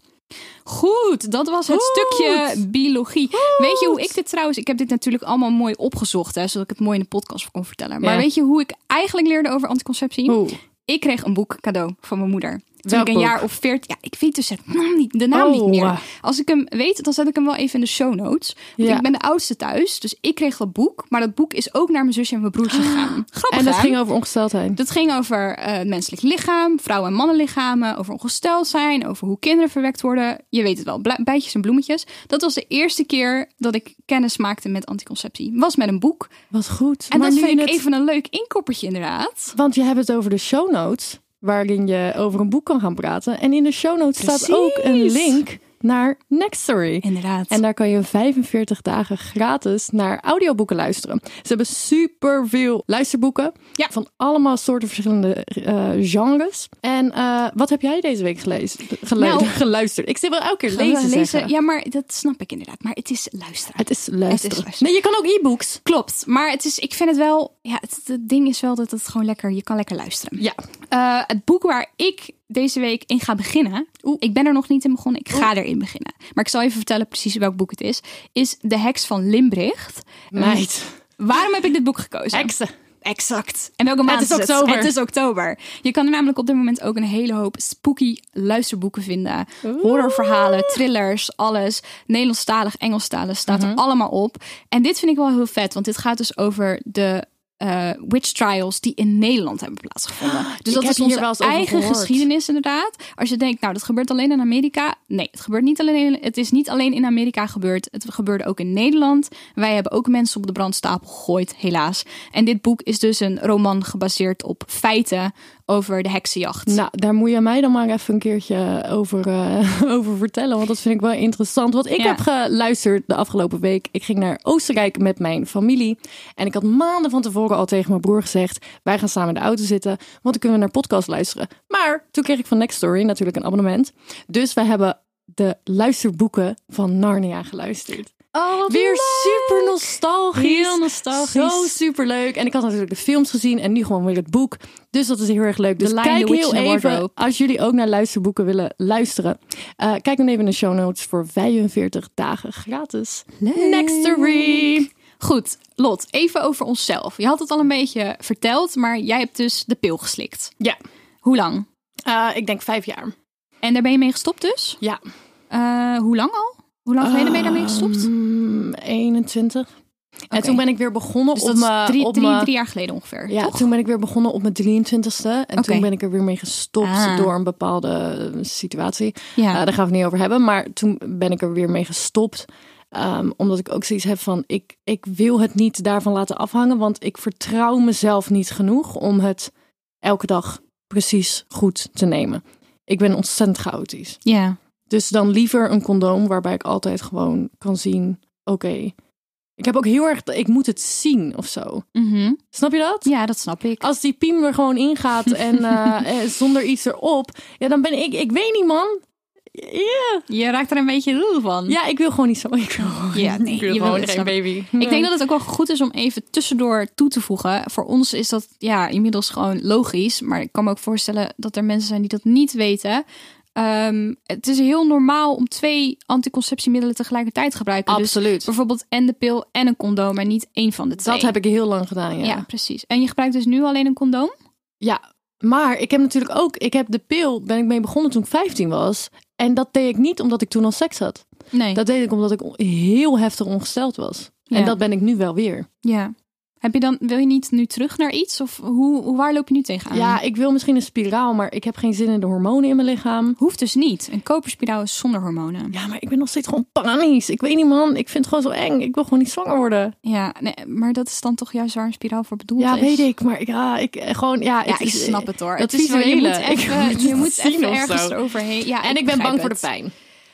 [SPEAKER 1] Goed, dat was het
[SPEAKER 2] Goed.
[SPEAKER 1] stukje biologie. Weet je hoe ik dit trouwens... Ik heb dit natuurlijk allemaal mooi opgezocht, hè, zodat ik het mooi in de podcast kon vertellen. Maar
[SPEAKER 2] Ja.
[SPEAKER 1] weet je hoe ik eigenlijk leerde over anticonceptie?
[SPEAKER 2] Oeh.
[SPEAKER 1] Ik kreeg een boek cadeau van mijn moeder. Toen
[SPEAKER 2] Welk
[SPEAKER 1] ik een
[SPEAKER 2] boek?
[SPEAKER 1] jaar of veertien... Ja, ik weet dus het naam niet, de naam niet
[SPEAKER 2] Oh.
[SPEAKER 1] meer. Als ik hem weet, dan zet ik hem wel even in de show notes. Want
[SPEAKER 2] Ja.
[SPEAKER 1] ik ben de oudste thuis, dus ik kreeg dat boek. Maar dat boek is ook naar mijn zusje en mijn broertje
[SPEAKER 2] Ah,
[SPEAKER 1] gegaan. Grappig,
[SPEAKER 2] En dat
[SPEAKER 1] hè?
[SPEAKER 2] ging over ongesteldheid.
[SPEAKER 1] Dat ging over eh, het menselijk lichaam, vrouwen- en mannenlichamen, over ongesteld zijn, over hoe kinderen verwekt worden. Je weet het wel, bla- bijtjes en bloemetjes. Dat was de eerste keer dat ik kennis maakte met anticonceptie. Was met een boek.
[SPEAKER 2] Wat goed.
[SPEAKER 1] En
[SPEAKER 2] maar
[SPEAKER 1] dat
[SPEAKER 2] nu
[SPEAKER 1] vind
[SPEAKER 2] je
[SPEAKER 1] ik
[SPEAKER 2] het-
[SPEAKER 1] even een leuk inkoppertje inderdaad.
[SPEAKER 2] Want je hebt het over de show notes, waarin je over een boek kan gaan praten. En in de show notes staat
[SPEAKER 1] Precies.
[SPEAKER 2] ook een link naar Nextory.
[SPEAKER 1] Inderdaad.
[SPEAKER 2] En daar kan je 45 dagen gratis naar audioboeken luisteren. Ze hebben superveel luisterboeken.
[SPEAKER 1] Ja.
[SPEAKER 2] Van allemaal soorten verschillende eh, genres. En eh, wat heb jij deze week gelezen? Gelu-
[SPEAKER 1] Nou.
[SPEAKER 2] geluisterd. Ik zit wel elke keer
[SPEAKER 1] Gaan we
[SPEAKER 2] lezen, zeggen.
[SPEAKER 1] Ja, maar dat snap ik inderdaad. Maar het is luisteren.
[SPEAKER 2] Het is luisteren.
[SPEAKER 1] luisteren.
[SPEAKER 2] Nee, je kan ook e-books.
[SPEAKER 1] Klopt, maar het is, ik vind het wel. Ja, het, het ding is wel dat het gewoon lekker. Je kan lekker luisteren.
[SPEAKER 2] Ja.
[SPEAKER 1] Eh, het boek waar ik deze week in ga beginnen. Ik ben er nog niet in begonnen. Ik ga erin beginnen. Maar ik zal even vertellen precies welk boek het is. Is De Heks van Limbricht.
[SPEAKER 2] Meid.
[SPEAKER 1] Waarom heb ik dit boek gekozen?
[SPEAKER 2] Heksen.
[SPEAKER 1] Exact. En welke maand
[SPEAKER 2] Het is
[SPEAKER 1] het?
[SPEAKER 2] oktober.
[SPEAKER 1] Het is oktober. Je kan er namelijk op dit moment ook een hele hoop spooky luisterboeken vinden. Horrorverhalen, thrillers, alles. Nederlandstalig, Engelstalig staat
[SPEAKER 2] Mhm.
[SPEAKER 1] er allemaal op. En dit vind ik wel heel vet, want dit gaat dus over de eh, witch trials die in Nederland hebben plaatsgevonden. Dus dat
[SPEAKER 2] heb
[SPEAKER 1] is
[SPEAKER 2] hier
[SPEAKER 1] onze
[SPEAKER 2] wel eens over
[SPEAKER 1] eigen
[SPEAKER 2] gehoord.
[SPEAKER 1] geschiedenis inderdaad. Als je denkt, nou dat gebeurt alleen in Amerika. Nee, het gebeurt niet alleen. Het is niet alleen in Amerika gebeurd. Het gebeurde ook in Nederland. Wij hebben ook mensen op de brandstapel gegooid, helaas. En dit boek is dus een roman gebaseerd op feiten over de heksenjacht.
[SPEAKER 2] Nou, daar moet je mij dan maar even een keertje over, eh, over vertellen. Want dat vind ik wel interessant. Wat ik
[SPEAKER 1] Ja.
[SPEAKER 2] heb geluisterd de afgelopen week. Ik ging naar Oostenrijk met mijn familie. En ik had maanden van tevoren al tegen mijn broer gezegd... wij gaan samen in de auto zitten, want dan kunnen we naar podcast luisteren. Maar toen kreeg ik van Next Story natuurlijk een abonnement. Dus we hebben de luisterboeken van Narnia geluisterd.
[SPEAKER 1] oh,
[SPEAKER 2] Weer super nostalgisch.
[SPEAKER 1] Heel nostalgisch.
[SPEAKER 2] Zo super leuk. En ik had natuurlijk de films gezien en nu gewoon weer het boek. Dus dat is heel erg leuk. Dus
[SPEAKER 1] The Lion,
[SPEAKER 2] kijk
[SPEAKER 1] the Witch
[SPEAKER 2] heel
[SPEAKER 1] and the
[SPEAKER 2] even,
[SPEAKER 1] Wardrobe.
[SPEAKER 2] als jullie ook naar luisterboeken willen luisteren. eh, kijk dan even in de show notes voor 45 dagen gratis. Nextory.
[SPEAKER 1] Goed, Lot, even over onszelf. Je had het al een beetje verteld, maar jij hebt dus de pil geslikt.
[SPEAKER 2] Ja,
[SPEAKER 1] Hoe lang?
[SPEAKER 2] Eh, ik denk vijf jaar.
[SPEAKER 1] En daar ben je mee gestopt dus?
[SPEAKER 2] Ja.
[SPEAKER 1] Eh, hoe lang al? Hoe lang geleden ben je daarmee gestopt?
[SPEAKER 2] Mm, 21. En
[SPEAKER 1] Oké.
[SPEAKER 2] toen ben ik weer begonnen
[SPEAKER 1] dus
[SPEAKER 2] op
[SPEAKER 1] dat is
[SPEAKER 2] mijn-
[SPEAKER 1] drie,
[SPEAKER 2] op
[SPEAKER 1] drie,
[SPEAKER 2] mijn-
[SPEAKER 1] drie jaar geleden ongeveer,
[SPEAKER 2] eh, Ja,
[SPEAKER 1] toch?
[SPEAKER 2] toen ben ik weer begonnen op mijn 23ste. En toen
[SPEAKER 1] Oké.
[SPEAKER 2] ben ik er weer mee gestopt
[SPEAKER 1] Ah.
[SPEAKER 2] door een bepaalde eh, situatie.
[SPEAKER 1] Ja.
[SPEAKER 2] Eh, daar gaan we het niet over hebben. Maar toen ben ik er weer mee gestopt. Ehm, omdat ik ook zoiets heb van, ik, ik wil het niet daarvan laten afhangen. Want ik vertrouw mezelf niet genoeg om het elke dag precies goed te nemen. Ik ben ontzettend chaotisch.
[SPEAKER 1] Ja.
[SPEAKER 2] Dus dan liever een condoom waarbij ik altijd gewoon kan zien, oké. Ik heb ook heel erg, ik moet het zien of zo.
[SPEAKER 1] Mhm.
[SPEAKER 2] Snap je dat?
[SPEAKER 1] Ja, dat snap ik.
[SPEAKER 2] als die piem er gewoon ingaat en eh, eh, zonder iets erop, ja, dan ben ik, ik weet niet, man. Ja.
[SPEAKER 1] Oh, Je raakt er een beetje ruw van.
[SPEAKER 2] Ja, ik wil gewoon niet zo. Ik wil gewoon,
[SPEAKER 1] Mm. Ja, nee,
[SPEAKER 2] ik wil
[SPEAKER 1] je wil
[SPEAKER 2] gewoon
[SPEAKER 1] het,
[SPEAKER 2] geen
[SPEAKER 1] snap ik.
[SPEAKER 2] baby.
[SPEAKER 1] Ik denk dat het ook wel goed is om even tussendoor toe te voegen. Voor ons is dat ja, inmiddels gewoon logisch. Maar ik kan me ook voorstellen dat er mensen zijn die dat niet weten. Ehm, het is heel normaal om twee anticonceptiemiddelen tegelijkertijd te gebruiken. Dus
[SPEAKER 2] Absoluut.
[SPEAKER 1] bijvoorbeeld en de pil en een condoom, maar niet één van de twee.
[SPEAKER 2] dat heb ik heel lang gedaan, ja.
[SPEAKER 1] Ja.
[SPEAKER 2] ja.
[SPEAKER 1] precies. En je gebruikt dus nu alleen een condoom?
[SPEAKER 2] Maar ik heb natuurlijk ook, ik heb de pil, ben ik mee begonnen toen ik 15 was. En dat deed ik niet omdat ik toen al seks had.
[SPEAKER 1] Nee.
[SPEAKER 2] Dat deed ik omdat ik on- heel heftig ongesteld was.
[SPEAKER 1] Ja.
[SPEAKER 2] En dat ben ik nu wel weer.
[SPEAKER 1] Ja. Heb je dan, wil je niet nu terug naar iets? Of hoe, hoe- waar loop je nu tegenaan?
[SPEAKER 2] Ja, ik wil misschien een spiraal, maar ik heb geen zin in de hormonen in mijn lichaam.
[SPEAKER 1] Hoeft dus niet. Een koperspiraal is zonder hormonen.
[SPEAKER 2] Ja, maar ik ben nog steeds gewoon panisch. Ik weet niet, man. Ik vind het gewoon zo eng. Ik wil gewoon niet zwanger worden.
[SPEAKER 1] Ja, nee, maar dat is dan toch juist waar een spiraal voor bedoeld
[SPEAKER 2] Ja,
[SPEAKER 1] is?
[SPEAKER 2] weet ik. Maar ik- ja, ik eh, gewoon, ja.
[SPEAKER 1] Ja,
[SPEAKER 2] het
[SPEAKER 1] ik
[SPEAKER 2] is- eh,
[SPEAKER 1] snap het hoor.
[SPEAKER 2] dat
[SPEAKER 1] Het is wel, je
[SPEAKER 2] visuele.
[SPEAKER 1] moet
[SPEAKER 2] Ik wil het
[SPEAKER 1] even, je moet
[SPEAKER 2] zien
[SPEAKER 1] even
[SPEAKER 2] of
[SPEAKER 1] ergens
[SPEAKER 2] zo.
[SPEAKER 1] eroverheen. Ja,
[SPEAKER 2] En ik ben
[SPEAKER 1] begrijp
[SPEAKER 2] bang voor de
[SPEAKER 1] het.
[SPEAKER 2] pijn.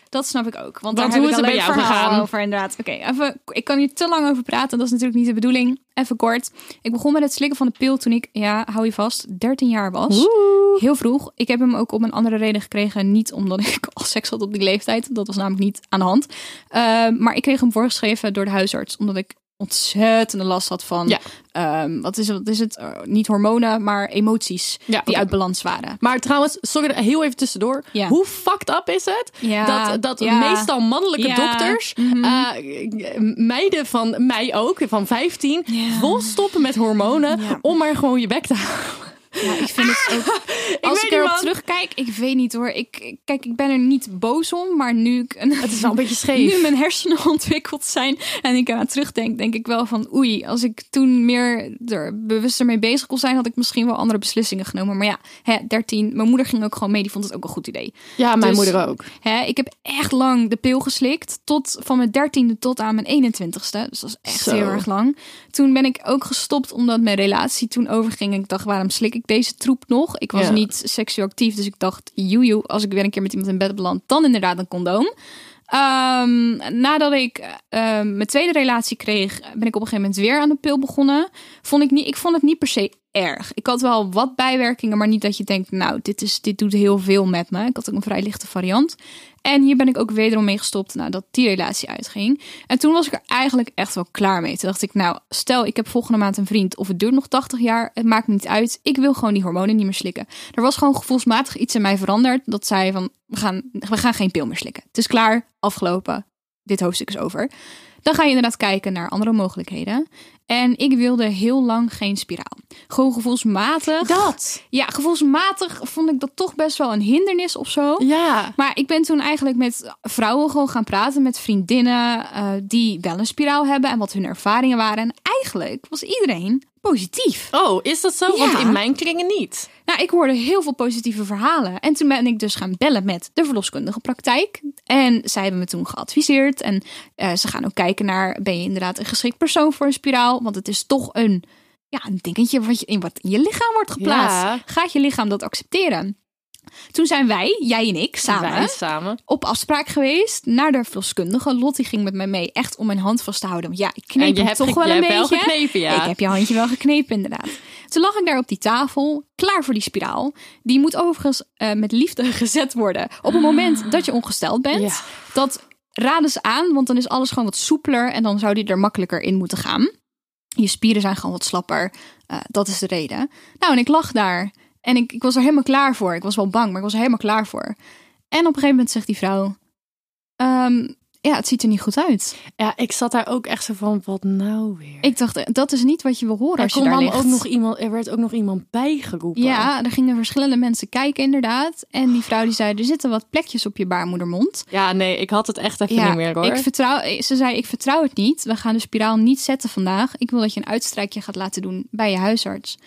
[SPEAKER 1] Dat snap ik ook. Want,
[SPEAKER 2] Want
[SPEAKER 1] daar
[SPEAKER 2] hoe
[SPEAKER 1] heb
[SPEAKER 2] is
[SPEAKER 1] ik
[SPEAKER 2] het
[SPEAKER 1] een
[SPEAKER 2] bij
[SPEAKER 1] leuk
[SPEAKER 2] jou
[SPEAKER 1] verhaal
[SPEAKER 2] gegaan?
[SPEAKER 1] over inderdaad. Oké, even. ik kan hier te lang over praten. Dat is natuurlijk niet de bedoeling. Even kort. Ik begon met het slikken van de pil toen ik, ja, hou je vast, 13 jaar was. Heel vroeg. Ik heb hem ook om een andere reden gekregen. Niet omdat ik al seks had op die leeftijd. Dat was namelijk niet aan de hand. Ehm, maar ik kreeg hem voorgeschreven door de huisarts. Omdat ik ontzettende last had van...
[SPEAKER 2] Ja.
[SPEAKER 1] ehm, wat, is, het- wat is het? Eh, niet hormonen, maar emoties
[SPEAKER 2] Ja,
[SPEAKER 1] die
[SPEAKER 2] oké.
[SPEAKER 1] uit balans waren.
[SPEAKER 2] Maar trouwens, sorry, heel even tussendoor.
[SPEAKER 1] Ja.
[SPEAKER 2] Hoe fucked up is het
[SPEAKER 1] Ja,
[SPEAKER 2] dat, dat
[SPEAKER 1] ja.
[SPEAKER 2] meestal mannelijke
[SPEAKER 1] Ja,
[SPEAKER 2] dokters, eh, meiden van mij ook, van 15, vol stoppen met hormonen
[SPEAKER 1] Ja.
[SPEAKER 2] om maar gewoon je bek te houden?
[SPEAKER 1] Ja, ik vind het ook. Als ik
[SPEAKER 2] weet niet,
[SPEAKER 1] erop
[SPEAKER 2] man.
[SPEAKER 1] terugkijk, ik weet niet hoor. Ik, ik- kijk, ik ben er niet boos om, maar nu ik
[SPEAKER 2] Het is wel een beetje scheef.
[SPEAKER 1] nu mijn hersenen ontwikkeld zijn en ik eraan terugdenk, denk ik wel van oei, als ik toen meer er bewuster mee bezig kon zijn, had ik misschien wel andere beslissingen genomen. Maar ja, hè, 13, mijn moeder ging ook gewoon mee, die vond het ook een goed idee.
[SPEAKER 2] ja, mijn
[SPEAKER 1] Dus-
[SPEAKER 2] moeder ook.
[SPEAKER 1] Hè, ik heb echt lang de pil geslikt. Tot van mijn dertiende tot aan mijn 21ste. Dus dat is echt
[SPEAKER 2] Zo.
[SPEAKER 1] heel erg lang. Toen ben ik ook gestopt omdat mijn relatie toen overging. En ik dacht, waarom slik ik deze troep nog? Ik was
[SPEAKER 2] Ja.
[SPEAKER 1] niet seksueel actief. Dus ik dacht, joejoe, als ik weer een keer met iemand in bed beland, dan inderdaad een condoom. Ehm, nadat ik ehm, mijn tweede relatie kreeg, ben ik op een gegeven moment weer aan de pil begonnen. Vond ik, niet, ik vond het niet per se erg. Ik had wel wat bijwerkingen, maar niet dat je denkt, nou, dit, is, dit doet heel veel met me. Ik had ook een vrij lichte variant. En hier ben ik ook wederom mee gestopt nadat nou, die relatie uitging. En toen was ik er eigenlijk echt wel klaar mee. Toen dacht ik, nou, stel ik heb volgende maand een vriend of het duurt nog 80 jaar, het maakt me niet uit. Ik wil gewoon die hormonen niet meer slikken. Er was gewoon gevoelsmatig iets in mij veranderd dat zei van, we gaan, we gaan geen pil meer slikken. Het is klaar, afgelopen, dit hoofdstuk is over. Dan ga je inderdaad kijken naar andere mogelijkheden. En ik wilde heel lang geen spiraal. Gewoon gevoelsmatig.
[SPEAKER 4] Dat.
[SPEAKER 1] Ja, gevoelsmatig vond ik dat toch best wel een hindernis of zo.
[SPEAKER 2] Ja.
[SPEAKER 1] Maar ik ben toen eigenlijk met vrouwen gewoon gaan praten, met vriendinnen eh, die wel een spiraal hebben en wat hun ervaringen waren. En eigenlijk was iedereen positief.
[SPEAKER 2] Oh, is dat zo? Want
[SPEAKER 1] Ja.
[SPEAKER 2] in mijn kringen niet.
[SPEAKER 1] Nou, ik hoorde heel veel positieve verhalen. En toen ben ik dus gaan bellen met de verloskundige praktijk. En zij hebben me toen geadviseerd. En eh, ze gaan ook kijken naar, ben je inderdaad een geschikt persoon voor een spiraal? Want het is toch een, ja, een dingetje wat, je, in, wat in je lichaam wordt geplaatst.
[SPEAKER 2] Ja.
[SPEAKER 1] Gaat je lichaam dat accepteren? Toen zijn wij, jij en ik, samen
[SPEAKER 2] Wij samen.
[SPEAKER 1] op afspraak geweest naar de verloskundige. Lottie ging met mij mee, echt om mijn hand vast te houden. Want ja, ik kneep
[SPEAKER 2] En je
[SPEAKER 1] hem
[SPEAKER 2] hebt
[SPEAKER 1] toch
[SPEAKER 2] ge-
[SPEAKER 1] wel
[SPEAKER 2] je
[SPEAKER 1] een
[SPEAKER 2] hebt wel
[SPEAKER 1] beetje.
[SPEAKER 2] geknepen, ja.
[SPEAKER 1] Ik heb je handje wel geknepen, inderdaad. Toen lag ik daar op die tafel, klaar voor die spiraal. Die moet overigens eh, met liefde gezet worden. Op het moment dat je ongesteld bent,
[SPEAKER 2] Ja.
[SPEAKER 1] dat raden ze aan, want dan is alles gewoon wat soepeler en dan zou die er makkelijker in moeten gaan. Je spieren zijn gewoon wat slapper. Eh, dat is de reden. Nou, en ik lag daar. En ik, ik was er helemaal klaar voor. Ik was wel bang, maar ik was er helemaal klaar voor. En op een gegeven moment zegt die vrouw: "Ehm, Ja, het ziet er niet goed uit.
[SPEAKER 2] Ja, ik zat daar ook echt zo van, wat nou weer?
[SPEAKER 1] Ik dacht, eh, dat is niet wat je wil horen.
[SPEAKER 2] er,
[SPEAKER 1] als je
[SPEAKER 2] kon
[SPEAKER 1] daar
[SPEAKER 2] dan
[SPEAKER 1] ligt.
[SPEAKER 2] ook nog iemand, er werd ook nog iemand bijgeroepen.
[SPEAKER 1] Ja, er gingen verschillende mensen kijken, inderdaad. En die vrouw die zei: Er zitten wat plekjes op je baarmoedermond.
[SPEAKER 2] Ja, nee, ik had het echt even niet meer hoor.
[SPEAKER 1] Ik vertrouw, ze zei: Ik vertrouw het niet. We gaan de spiraal niet zetten vandaag. Ik wil dat je een uitstrijkje gaat laten doen bij je huisarts.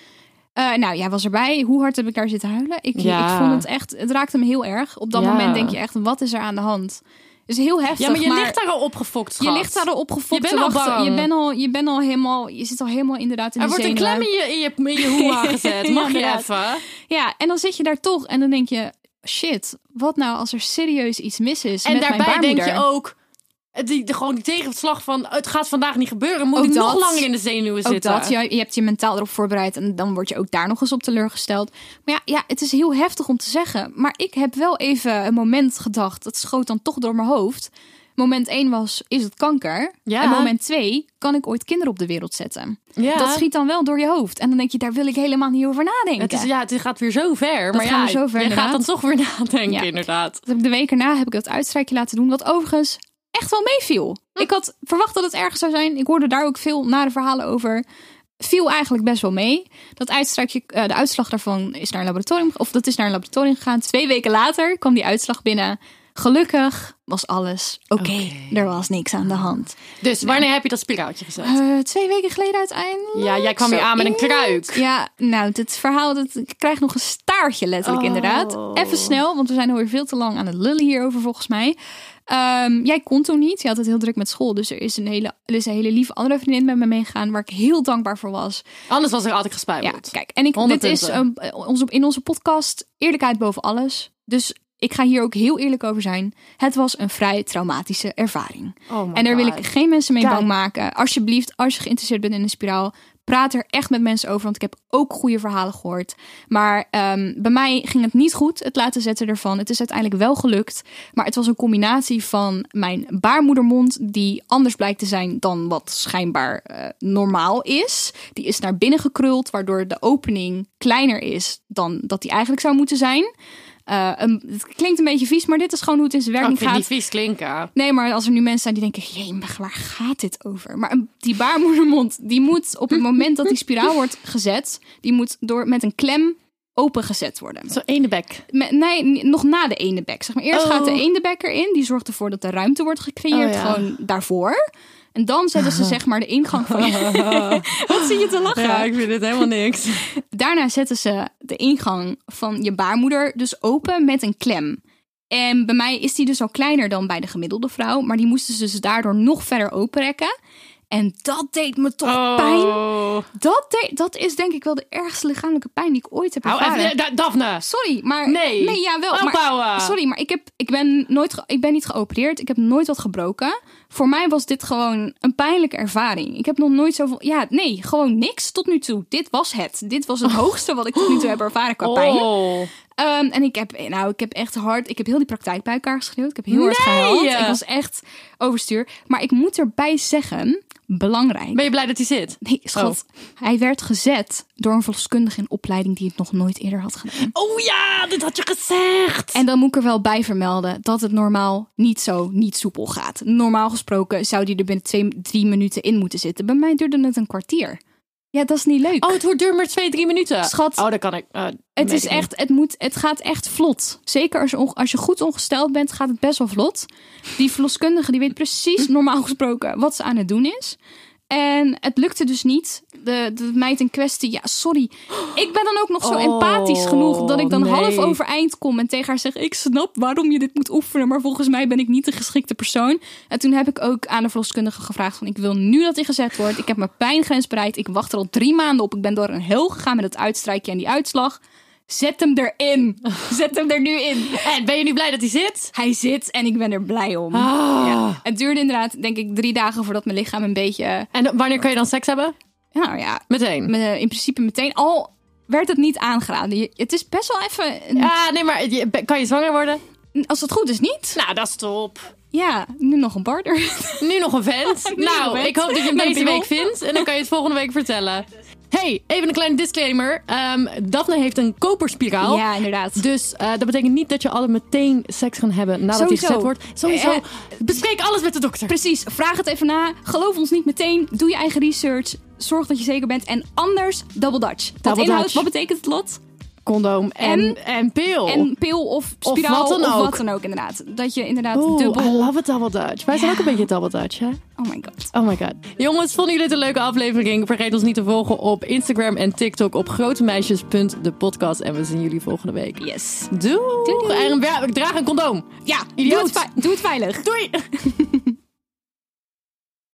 [SPEAKER 1] Eh, nou, jij was erbij. Hoe hard heb ik daar zitten huilen? Ik,
[SPEAKER 2] Ja.
[SPEAKER 1] ik vond het echt, het raakte me heel erg. Op dat
[SPEAKER 2] Ja.
[SPEAKER 1] moment denk je echt: wat is er aan de hand? Het is heel heftig.
[SPEAKER 2] ja, maar je ligt daar al opgefokt,
[SPEAKER 1] Je
[SPEAKER 2] schat.
[SPEAKER 1] ligt daar al opgefokt
[SPEAKER 2] Je
[SPEAKER 1] te
[SPEAKER 2] bent al
[SPEAKER 1] wachten.
[SPEAKER 2] bang.
[SPEAKER 1] Je bent al, je bent al helemaal, je zit al helemaal inderdaad in
[SPEAKER 2] Er
[SPEAKER 1] de
[SPEAKER 2] wordt een
[SPEAKER 1] zenuwen.
[SPEAKER 2] klem in je, in je, in je hoera gezet. Mag
[SPEAKER 1] Ja,
[SPEAKER 2] je
[SPEAKER 1] inderdaad.
[SPEAKER 2] even?
[SPEAKER 1] Ja, en dan zit je daar toch en dan denk je, shit, wat nou als er serieus iets mis is
[SPEAKER 2] En
[SPEAKER 1] met mijn
[SPEAKER 2] daarbij denk je oh,
[SPEAKER 1] baarmoeder?
[SPEAKER 2] ook... Die, de, gewoon die tegenslag van het gaat vandaag niet gebeuren. Moet
[SPEAKER 1] Ook
[SPEAKER 2] ik nog
[SPEAKER 1] dat.
[SPEAKER 2] langer in de zenuwen
[SPEAKER 1] Ook
[SPEAKER 2] zitten?
[SPEAKER 1] dat, ja, je hebt je mentaal erop voorbereid en dan word je ook daar nog eens op teleurgesteld. Maar ja, ja, het is heel heftig om te zeggen. Maar ik heb wel even een moment gedacht, dat schoot dan toch door mijn hoofd. Moment 1 was, is het kanker?
[SPEAKER 2] Ja.
[SPEAKER 1] En moment 2, kan ik ooit kinderen op de wereld zetten?
[SPEAKER 2] Ja.
[SPEAKER 1] Dat schiet dan wel door je hoofd. En dan denk je, daar wil ik helemaal niet over nadenken.
[SPEAKER 2] Het, is, ja, het gaat weer zo ver. maar
[SPEAKER 1] gaat
[SPEAKER 2] ja,
[SPEAKER 1] weer zo ver,
[SPEAKER 2] je gaat dan
[SPEAKER 1] inderdaad.
[SPEAKER 2] toch weer nadenken,
[SPEAKER 1] Ja.
[SPEAKER 2] inderdaad.
[SPEAKER 1] Dat heb ik de week erna heb ik dat uitstrijkje laten doen. Wat overigens echt wel meeviel. Ik had verwacht dat het erg zou zijn. Ik hoorde daar ook veel nare verhalen over. Viel eigenlijk best wel mee. Dat uitstrijkje, eh, de uitslag daarvan is naar een laboratorium. Of dat is naar een laboratorium gegaan. Twee weken later kwam die uitslag binnen. Gelukkig was alles oké. Er was niks aan de hand.
[SPEAKER 2] Dus wanneer heb je dat spiraaltje gezet?
[SPEAKER 1] Eh, twee weken geleden uiteindelijk.
[SPEAKER 2] Ja, jij kwam weer aan met een
[SPEAKER 1] Zoiets.
[SPEAKER 2] kruik.
[SPEAKER 1] Ja, nou, dit verhaal dat ik krijg nog een staartje letterlijk
[SPEAKER 2] Oh.
[SPEAKER 1] inderdaad. Even snel, want we zijn alweer veel te lang aan het lullen hierover volgens mij. Ehm, jij kon toen niet. Je had het heel druk met school. Dus er is een hele, er is een hele lieve andere vriendin met me meegegaan... waar ik heel dankbaar voor was.
[SPEAKER 2] Anders was er altijd
[SPEAKER 1] Ja,
[SPEAKER 2] gespuild.
[SPEAKER 1] kijk. En ik,
[SPEAKER 2] 100
[SPEAKER 1] dit is
[SPEAKER 2] punten.
[SPEAKER 1] ehm, onze, in onze podcast eerlijkheid boven alles. Dus ik ga hier ook heel eerlijk over zijn. Het was een vrij traumatische ervaring.
[SPEAKER 2] Oh my
[SPEAKER 1] en daar wil
[SPEAKER 2] God.
[SPEAKER 1] ik geen mensen mee
[SPEAKER 2] Kijk.
[SPEAKER 1] bang maken. Alsjeblieft, als je geïnteresseerd bent in een spiraal... praat er echt met mensen over. Want ik heb ook goede verhalen gehoord. Maar ehm, bij mij ging het niet goed, het laten zetten ervan. Het is uiteindelijk wel gelukt. Maar het was een combinatie van mijn baarmoedermond... die anders blijkt te zijn dan wat schijnbaar eh, normaal is. Die is naar binnen gekruld, waardoor de opening kleiner is... dan dat die eigenlijk zou moeten zijn. Eh, een- het klinkt een beetje vies, maar dit is gewoon hoe het in zijn
[SPEAKER 2] Oh, ik
[SPEAKER 1] werking
[SPEAKER 2] vind het
[SPEAKER 1] gaat.
[SPEAKER 2] niet vies klinken.
[SPEAKER 1] Nee, maar als er nu mensen zijn die denken: jee, maar waar gaat dit over? Maar een- die baarmoedermond, die moet op het moment dat die spiraal wordt gezet, die moet door, met een klem opengezet worden.
[SPEAKER 2] Zo ene bek.
[SPEAKER 1] Me- nee, n- nog na de ene bek. Zeg maar. Eerst
[SPEAKER 2] Oh.
[SPEAKER 1] gaat de ene bek erin, die zorgt ervoor dat de ruimte wordt gecreëerd,
[SPEAKER 2] Oh, ja.
[SPEAKER 1] gewoon daarvoor. En dan zetten ze zeg maar de ingang van je. Wat zie je te lachen?
[SPEAKER 2] vind het helemaal niks.
[SPEAKER 1] Daarna zetten ze de ingang van je baarmoeder dus open met een klem. En bij mij is die dus al kleiner dan bij de gemiddelde vrouw, maar die moesten ze dus daardoor nog verder openrekken. En dat deed me toch
[SPEAKER 2] Oh.
[SPEAKER 1] pijn. Dat, deed- dat is denk ik wel de ergste lichamelijke pijn die ik ooit heb
[SPEAKER 2] Hou
[SPEAKER 1] ervaren.
[SPEAKER 2] even, eh, Da- Daphne.
[SPEAKER 1] Sorry, maar...
[SPEAKER 2] Nee.
[SPEAKER 1] Nee, ja, wel. Maar,
[SPEAKER 2] Opbouwen.
[SPEAKER 1] sorry, maar ik, heb, ik, ben nooit ge- ik ben niet geopereerd. Ik heb nooit wat gebroken. Voor mij was dit gewoon een pijnlijke ervaring. Ik heb nog nooit zoveel... Ja, nee, gewoon niks tot nu toe. Dit was het. Dit was het hoogste wat ik tot nu toe heb ervaren qua pijn.
[SPEAKER 2] Oh.
[SPEAKER 1] Ehm, en ik heb, nou, ik heb echt hard, ik heb heel die praktijk bij elkaar geschreeuwd. Ik heb heel hard
[SPEAKER 2] Nee!
[SPEAKER 1] gehuild. Ik was echt overstuur. Maar ik moet erbij zeggen, belangrijk.
[SPEAKER 2] Ben je blij dat hij zit?
[SPEAKER 1] Nee, schat,
[SPEAKER 2] Oh.
[SPEAKER 1] hij werd gezet door een verloskundige in opleiding die het nog nooit eerder had gedaan.
[SPEAKER 2] Oh ja, dit had je gezegd.
[SPEAKER 1] En dan moet ik er wel bij vermelden dat het normaal niet zo niet soepel gaat. Normaal gesproken zou die er binnen twee, drie minuten in moeten zitten. Bij mij duurde het een kwartier. Ja, dat is niet leuk.
[SPEAKER 2] Oh, het wordt duur maar twee, drie minuten.
[SPEAKER 1] Schat.
[SPEAKER 2] Oh, dat kan ik. eh, weet
[SPEAKER 1] Het, is
[SPEAKER 2] ik niet.
[SPEAKER 1] echt, het, moet, het gaat echt vlot. Zeker als je, onge- als je goed ongesteld bent, gaat het best wel vlot. Die verloskundige die weet precies, normaal gesproken, wat ze aan het doen is. En het lukte dus niet. De, de meid in kwestie, ja, sorry. Ik ben dan ook nog zo
[SPEAKER 2] Oh,
[SPEAKER 1] empathisch genoeg dat ik dan
[SPEAKER 2] nee.
[SPEAKER 1] half overeind kom en tegen haar zeg: Ik snap waarom je dit moet oefenen, maar volgens mij ben ik niet de geschikte persoon. En toen heb ik ook aan de verloskundige gevraagd: van, Ik wil nu dat hij gezet wordt. Ik heb mijn pijngrens bereikt. Ik wacht er al drie maanden op. Ik ben door een hel gegaan met het uitstrijkje en die uitslag. Zet hem erin. Zet hem er nu in.
[SPEAKER 2] En ben je nu blij dat hij zit?
[SPEAKER 1] Hij zit en ik ben er blij om.
[SPEAKER 2] Ah.
[SPEAKER 1] Ja. Het duurde inderdaad, denk ik, drie dagen voordat mijn lichaam een beetje. eh,
[SPEAKER 2] En dan- wanneer kan je dan seks hebben?
[SPEAKER 1] Nou ja,
[SPEAKER 2] Meteen.
[SPEAKER 1] me- in principe meteen. Al werd het niet aangeraden. Je- Het is best wel even. een-
[SPEAKER 2] Ja, nee, maar je- be- kan je zwanger worden?
[SPEAKER 1] Als het goed is, niet.
[SPEAKER 2] Nou, dat is top.
[SPEAKER 1] Ja, nu nog een barter.
[SPEAKER 2] Nu nog een vent.
[SPEAKER 1] Nu nog
[SPEAKER 2] nou,
[SPEAKER 1] een vent.
[SPEAKER 2] ik hoop dat je hem
[SPEAKER 1] Naar de
[SPEAKER 2] deze
[SPEAKER 1] piemel.
[SPEAKER 2] week vindt. En dan kan je het volgende week vertellen. Hey, even een kleine disclaimer. Ehm Daphne heeft een koperspiraal.
[SPEAKER 1] Ja, inderdaad.
[SPEAKER 2] Dus eh, dat betekent niet dat je alle meteen seks gaan hebben nadat hij
[SPEAKER 1] Sowieso.
[SPEAKER 2] gezet wordt. Sowieso.
[SPEAKER 1] Eh,
[SPEAKER 2] bespreek alles met de dokter.
[SPEAKER 1] Precies, vraag het even na. Geloof ons niet meteen. Doe je eigen research. Zorg dat je zeker bent. En anders, double dutch. Wat
[SPEAKER 2] Double
[SPEAKER 1] inhoudt,
[SPEAKER 2] Dutch.
[SPEAKER 1] wat betekent het lot?
[SPEAKER 2] Condoom en, en,
[SPEAKER 1] En-
[SPEAKER 2] pil.
[SPEAKER 1] En pil of
[SPEAKER 2] Of
[SPEAKER 1] spiraal
[SPEAKER 2] wat dan ook.
[SPEAKER 1] wat dan ook, inderdaad. Dat je inderdaad
[SPEAKER 2] Oeh, I
[SPEAKER 1] dubbel...
[SPEAKER 2] love it double Dutch. Wij zijn
[SPEAKER 1] Ja.
[SPEAKER 2] ook een beetje double Dutch, hè?
[SPEAKER 1] Oh my god.
[SPEAKER 2] Oh my god. Jongens, vonden jullie dit een leuke aflevering? Vergeet ons niet te volgen op Instagram en TikTok op grotemeisjes.depodcast. En we zien jullie volgende week.
[SPEAKER 1] Yes.
[SPEAKER 2] Doei!
[SPEAKER 1] Doei, doei.
[SPEAKER 2] En ja, draag een condoom.
[SPEAKER 1] Ja, doe
[SPEAKER 2] Idioot.
[SPEAKER 1] het, vei- doe het veilig.
[SPEAKER 2] Doei!